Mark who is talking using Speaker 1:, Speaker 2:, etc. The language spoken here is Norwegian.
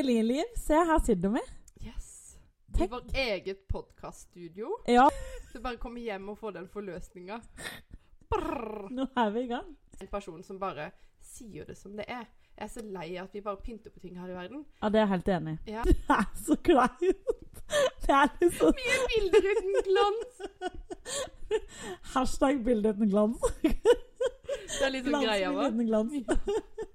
Speaker 1: Elin-Liv, se her sitter vi.
Speaker 2: Yes. I
Speaker 1: Tenk.
Speaker 2: vårt eget podkaststudio.
Speaker 1: Ja,
Speaker 2: Så bare komme hjem og få den forløsninga.
Speaker 1: nå er vi i gang.
Speaker 2: En person som bare sier det som det er. Jeg er så lei av at vi bare pynter på ting her i verden.
Speaker 1: Ja, det er jeg helt enig i.
Speaker 2: Ja.
Speaker 1: Det er så kleint. Det er liksom
Speaker 2: Mye bilder uten glans!
Speaker 1: hashtag bilde uten glans.
Speaker 2: Det er litt sånn
Speaker 1: Glans
Speaker 2: greia
Speaker 1: bilde
Speaker 2: vår.
Speaker 1: uten glans.